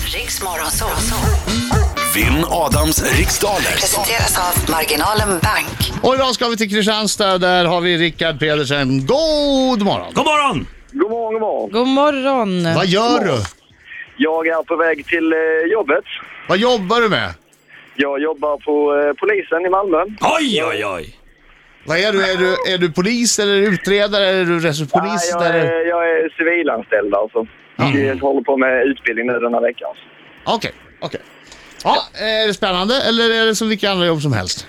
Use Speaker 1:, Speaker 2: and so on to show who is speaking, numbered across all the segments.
Speaker 1: Riks Morgonzoo.
Speaker 2: Vinn Adams riksdaler.
Speaker 1: Presenteras av Marginalen Bank.
Speaker 3: Och idag ska vi till Kristianstad, där har vi Rickard Pedersen. God morgon!
Speaker 4: God morgon!
Speaker 5: God morgon, god morgon.
Speaker 6: God morgon.
Speaker 3: Vad gör du?
Speaker 5: Jag är på väg till eh, jobbet.
Speaker 3: Vad jobbar du med?
Speaker 5: Jag jobbar på eh, polisen i Malmö.
Speaker 4: Oj, oj, oj!
Speaker 3: Vad är du? Är du, är du polis eller utredare? Är du receptionist?
Speaker 5: jag,
Speaker 3: eller?
Speaker 5: är, jag är civilanställd alltså. Jag håller på med utbildning nu den här veckan.
Speaker 3: Okej, okej. Ja, är det spännande eller är det som vilka andra jobb som helst?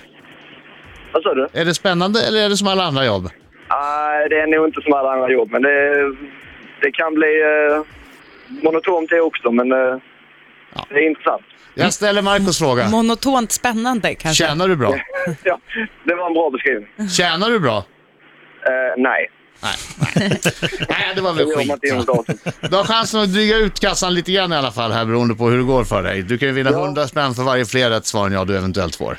Speaker 5: Vad sa du?
Speaker 3: Är det spännande eller är det som alla andra jobb?
Speaker 5: Nej, det är nog inte som alla andra jobb, men det, det kan bli eh, monotont det också, men eh, det är intressant.
Speaker 3: Jag ställer Marcos fråga.
Speaker 6: Monotont spännande kanske.
Speaker 3: Tjänar du bra?
Speaker 5: ja, det var en bra beskrivning.
Speaker 3: Tjänar du bra?
Speaker 5: Eh, nej,
Speaker 3: Nej, nej. nej det var
Speaker 5: det
Speaker 3: väl
Speaker 5: gör man
Speaker 3: skit.
Speaker 5: inte inom datorn.
Speaker 3: Du har chansen att dryga ut kassan lite grann i alla fall här beroende på hur det går för dig. Du kan ju vinna 100 spänn för varje fler rätt svar än jag du eventuellt får.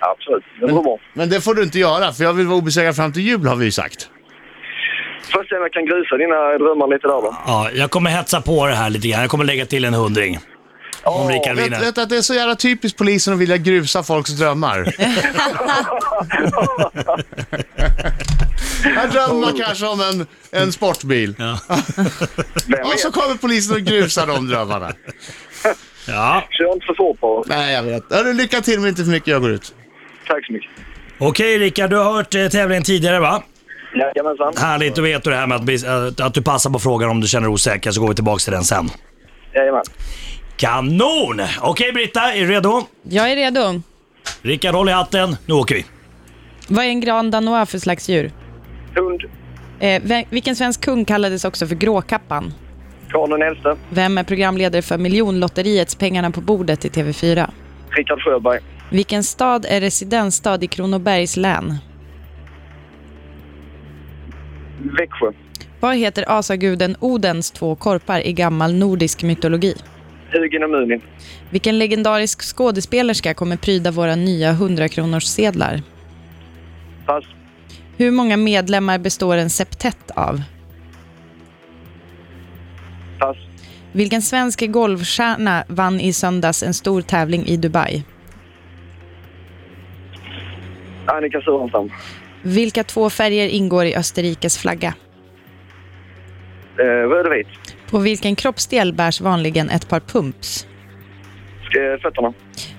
Speaker 5: Absolut, det går bra.
Speaker 3: Men det får du inte göra för jag vill vara obesegrad fram till jul har vi ju sagt.
Speaker 5: Får se om jag kan grusa dina drömmar lite där då.
Speaker 4: Ja, jag kommer hetsa på det här lite grann. Jag kommer lägga till en hundring. Om Rickard
Speaker 3: Vet,
Speaker 4: vinner.
Speaker 3: vet att det är så jävla typiskt polisen att vilja grusa folks drömmar. Jag drömmer kanske om en, en sportbil.
Speaker 5: Vem
Speaker 3: Och så
Speaker 5: vet?
Speaker 3: kommer polisen och grusar de drömmarna.
Speaker 4: Ja,
Speaker 5: Kör inte för fort på
Speaker 3: Nej, jag vet. Hörru, lycka till men inte för mycket. Jag går ut.
Speaker 5: Tack så mycket.
Speaker 4: okej Rickard, du har hört eh, tävlingen tidigare va?
Speaker 5: Jajamensan.
Speaker 4: Härligt, då vet du det här med att, bli, att, att du passar på frågan om du känner dig osäker så går vi tillbaka till den sen.
Speaker 5: Jajamän.
Speaker 4: Kanon! Okej Britta, är du redo?
Speaker 6: Jag är redo.
Speaker 4: Rickard, håll i hatten. Nu åker vi.
Speaker 6: Vad är en gran danois för slags djur?
Speaker 5: Hund,
Speaker 6: Eh, ve- vilken svensk kung kallades också för Gråkappan?
Speaker 5: Karl den XI,
Speaker 6: Vem är programledare för Miljonlotteriets Pengarna på bordet i TV4?
Speaker 5: Rickard Sjöberg,
Speaker 6: Vilken stad är residensstad i Kronobergs län?
Speaker 5: Växjö,
Speaker 6: Vad heter asaguden Odens två korpar i gammal nordisk mytologi?
Speaker 5: Hugin och Munin,
Speaker 6: Vilken legendarisk skådespelerska kommer pryda våra nya 100-kronorssedlar?
Speaker 5: pass,
Speaker 6: Hur många medlemmar består en septett av?
Speaker 5: pass,
Speaker 6: Vilken svensk golfstjärna vann i söndags en stor tävling i Dubai?
Speaker 5: Annika Sörenstam,
Speaker 6: Vilka två färger ingår i Österrikes flagga?
Speaker 5: eh, röd och vit,
Speaker 6: På vilken kroppsdel bärs vanligen ett par pumps?
Speaker 5: Sk- eh, fötterna,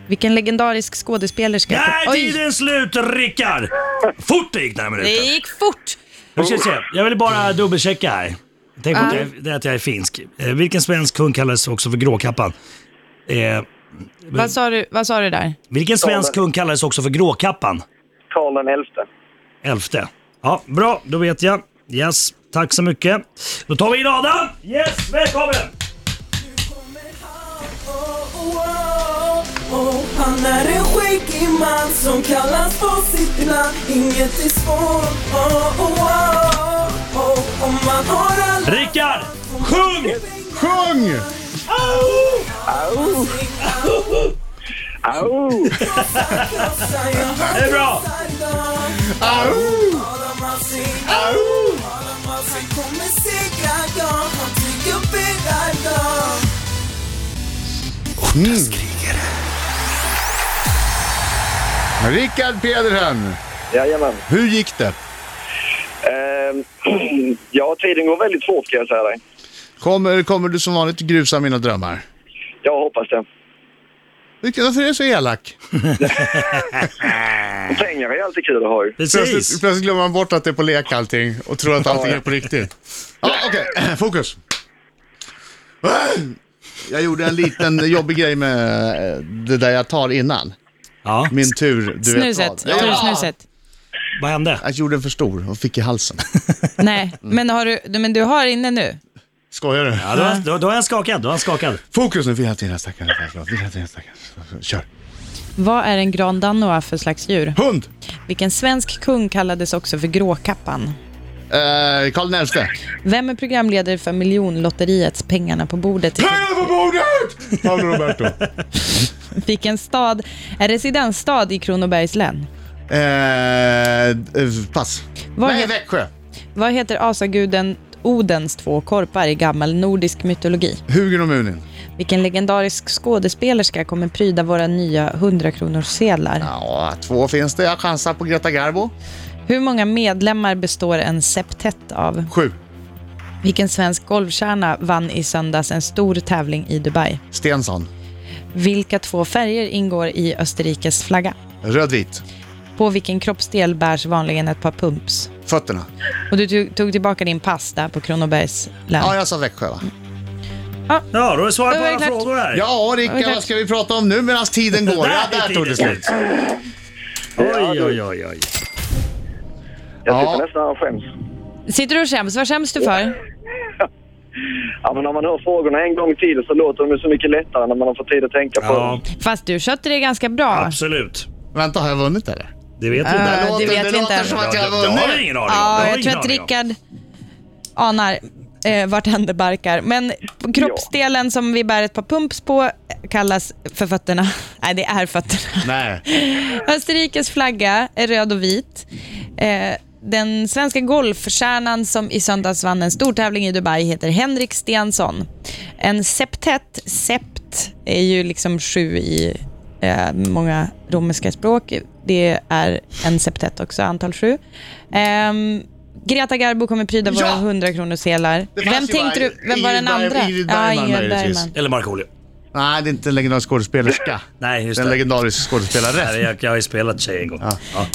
Speaker 6: Vilken legendarisk skådespelerska...
Speaker 4: Nej,
Speaker 6: Oj!
Speaker 4: tiden är slut Rickard! Fort det gick den här
Speaker 6: Det
Speaker 4: minuten.
Speaker 6: gick fort!
Speaker 4: Jag, ska se. jag vill bara dubbelchecka här. Tänk på att jag, det är att jag är finsk. Eh, vilken svensk kung kallades också för Gråkappan? Eh,
Speaker 6: Vad sa du, vad sa du där?
Speaker 4: vilken svensk kung kallades också för Gråkappan?
Speaker 5: Karl den XI.
Speaker 4: Elfte. Ja, bra, då vet jag. Yes, tack så mycket. Då tar vi in Adam! Yes, välkommen!
Speaker 7: Han är en skäggig man som kallas på sitt land Inget är svårt, oh, oh, oh, oh. Om man har alla
Speaker 4: Rickard! Sjung!
Speaker 3: Sjung!
Speaker 5: Au!
Speaker 7: krossar jag
Speaker 4: Det är bra!
Speaker 3: Au!
Speaker 7: Adam Alsing,
Speaker 3: Au!
Speaker 7: Adam Alsing kommer segra, ja Han tycker bäddar, ja
Speaker 3: Rickard Pedersen,
Speaker 5: Jajamän.
Speaker 3: hur gick det?
Speaker 5: Eh, ja, tiden går väldigt fort kan jag säga dig.
Speaker 3: Kommer, kommer du som vanligt grusa mina drömmar?
Speaker 5: Jag hoppas det.
Speaker 3: Vilken- Varför är du så elak?
Speaker 5: Pengar är alltid kul att ha ju.
Speaker 4: Precis.
Speaker 3: Plötsligt, plötsligt glömmer man bort att det är på lek allting och tror att allting är på riktigt. Ja, okej. Fokus. Jag gjorde en liten jobbig grej med eh, det där jag tar innan.
Speaker 4: Ja,
Speaker 3: Min tur, du
Speaker 6: Snuset.
Speaker 3: vet vad. Ja.
Speaker 6: Tursnuset.
Speaker 4: vad hände?
Speaker 3: Jag gjorde den för stor och fick i halsen. Mm.
Speaker 6: Nej, men, har du, men du har inne nu.
Speaker 3: Skojar du?
Speaker 4: Ja, då, var- då, då är han skakad. Då är han skakad.
Speaker 3: Fokus nu, vi har till den här stackaren. Vi har till den här stackaren. Kör.
Speaker 6: Vad är en gran danois för slags djur?
Speaker 3: Hund!
Speaker 6: Vilken svensk kung kallades också för Gråkappan?
Speaker 3: Eh, Karl XI.
Speaker 6: Vem är programledare för Miljonlotteriets Pengarna på bordet? i-
Speaker 3: på bordet! Paolo Roberto.
Speaker 6: Vilken stad är residensstad i Kronobergs län?
Speaker 3: Eh, eh, pass.
Speaker 6: Vad
Speaker 3: Nej,
Speaker 6: het-
Speaker 3: Växjö.
Speaker 6: Vad heter asaguden Odens två korpar i gammal nordisk mytologi?
Speaker 3: Hugin och Munin.
Speaker 6: Vilken legendarisk skådespelerska kommer pryda våra nya 100-kronorssedlar?
Speaker 3: Ja, två finns det. Jag chansar på Greta Garbo.
Speaker 6: Hur många medlemmar består en septett av?
Speaker 3: Sju.
Speaker 6: Vilken svensk golfstjärna vann i söndags en stor tävling i Dubai?
Speaker 3: Stensson.
Speaker 6: Vilka två färger ingår i Österrikes flagga?
Speaker 3: Rödvit.
Speaker 6: På vilken kroppsdel bärs vanligen ett par pumps?
Speaker 3: Fötterna.
Speaker 6: Och du tog- tog tillbaka din pass där på Kronobergs län.
Speaker 3: Ja, jag sa Växjö va?
Speaker 4: Ja, då har du svarat på
Speaker 6: Då är det
Speaker 4: alla
Speaker 6: klart.
Speaker 4: frågor här.
Speaker 3: Ja, Rickard, vad ska vi prata om nu medan tiden går? Ja, där tog det slut.
Speaker 4: Oj, oj, oj, oj.
Speaker 5: Jag
Speaker 3: Ja.
Speaker 5: sitter nästan och skäms.
Speaker 6: Sitter du och skäms? Vad skäms du för?
Speaker 5: Ja, men när man hör frågorna en gång till så låter de ju så mycket lättare när man har fått tid att tänka på
Speaker 4: Ja,
Speaker 5: dem.
Speaker 6: Fast du skötte det ganska bra.
Speaker 4: absolut.
Speaker 3: Vänta, har jag vunnit eller?
Speaker 4: Det vet vi
Speaker 6: Äh,
Speaker 4: inte.
Speaker 6: det
Speaker 3: låter,
Speaker 6: vet vi
Speaker 3: låter
Speaker 6: inte.
Speaker 3: som att jag har
Speaker 4: det har vi
Speaker 3: vunnit.
Speaker 4: ingen aning om. Det har
Speaker 6: Ja,
Speaker 4: vi
Speaker 6: jag
Speaker 4: ingen
Speaker 6: tror att
Speaker 4: aning om.
Speaker 6: Rickard anar eh, vart händer barkar. Men kroppsdelen som vi bär ett par pumps på kallas för fötterna. Nej, det är fötterna.
Speaker 3: Nej.
Speaker 6: Österrikes flagga är röd och vit. Eh, den svenska golfstjärnan som i söndags vann en stor tävling i Dubai heter Henrik Stensson. En septett, sept, är ju liksom sju i eh, många romerska språk. Det är en septett också, antal sju. Ehm, Greta Garbo kommer pryda
Speaker 3: Ja!
Speaker 6: våra 100 kronors Vem
Speaker 3: Det fanns ju
Speaker 6: tänkte
Speaker 3: bara
Speaker 6: du? Vem var den
Speaker 3: Ingrid Berg-
Speaker 6: andra?
Speaker 3: Ingrid Bergman
Speaker 6: ja, Ingrid
Speaker 3: möjligtvis.
Speaker 6: Bergman.
Speaker 4: Eller Markoolio.
Speaker 3: Nej, det är inte en legendarisk skådespelerska.
Speaker 4: Nej, just
Speaker 3: En
Speaker 4: det.
Speaker 3: legendarisk skådespelare.
Speaker 4: Nej, Jag, jag har ju spelat tjej en gång. Ja.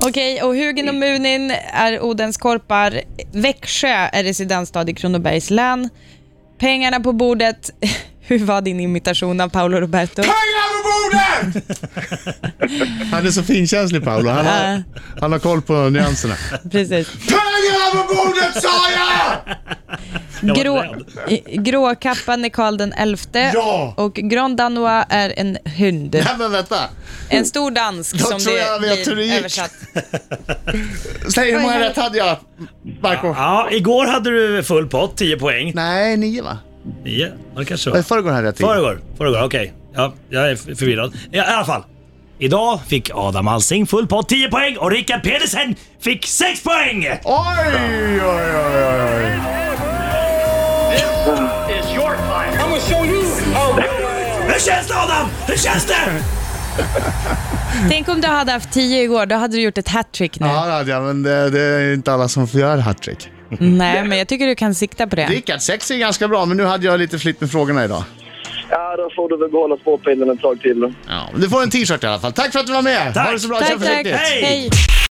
Speaker 6: Okej, och Hugen och Munin är Odens korpar. Växjö är residensstad i Kronobergs län. Pengarna på bordet. Hur var din imitation av Paolo Roberto?
Speaker 3: Han är så finkänslig Paolo. Han
Speaker 6: Ja.
Speaker 3: har, han har koll på nyanserna.
Speaker 6: Precis.
Speaker 3: Pengarna på bordet sa jag!
Speaker 4: Jag var
Speaker 6: Grå,
Speaker 4: rädd.
Speaker 6: i- Gråkappan är Karl den XI
Speaker 3: Ja!
Speaker 6: och Grand Danois är en hund.
Speaker 3: Nej men vänta.
Speaker 6: En stor dansk
Speaker 3: Då
Speaker 6: som
Speaker 3: tror jag
Speaker 6: det
Speaker 3: jag vet hur det
Speaker 6: blir
Speaker 3: gick.
Speaker 6: översatt.
Speaker 3: Säg hur många rätt hade jag, Marco?
Speaker 4: Ja, igår hade du full pott, 10 poäng.
Speaker 3: Nej, nio va?
Speaker 4: Nio? Ja, det kanske det
Speaker 3: Eller
Speaker 4: var.
Speaker 3: Förrgår hade jag tio.
Speaker 4: Föregår, föregår, okej. Ja, jag är förvirrad. Ja, I alla fall. Idag fick Adam Alsing full pott 10 poäng och Rickard Pedersen fick 6 poäng!
Speaker 3: Oj, oj, oj, oj, oj.
Speaker 4: Hur känns det Adam? Hur känns det?
Speaker 6: Tänk om du hade haft tio igår, då hade du gjort ett hattrick nu.
Speaker 3: Ja, det hade jag, men det, det är inte alla som får göra hattrick.
Speaker 6: Nej, men jag tycker du kan sikta på det.
Speaker 3: Rickard, sex är ganska bra, men nu hade jag lite flytt med frågorna idag.
Speaker 5: Ja, då får du väl behålla spårpinnen ett tag till.
Speaker 3: Ja, du får en t-shirt i alla fall. Tack för att du var med.
Speaker 4: Tack.
Speaker 3: Ha det så bra.
Speaker 6: Tack,
Speaker 3: Kör
Speaker 6: tack.
Speaker 3: försiktigt.
Speaker 4: Hej!
Speaker 6: Hej.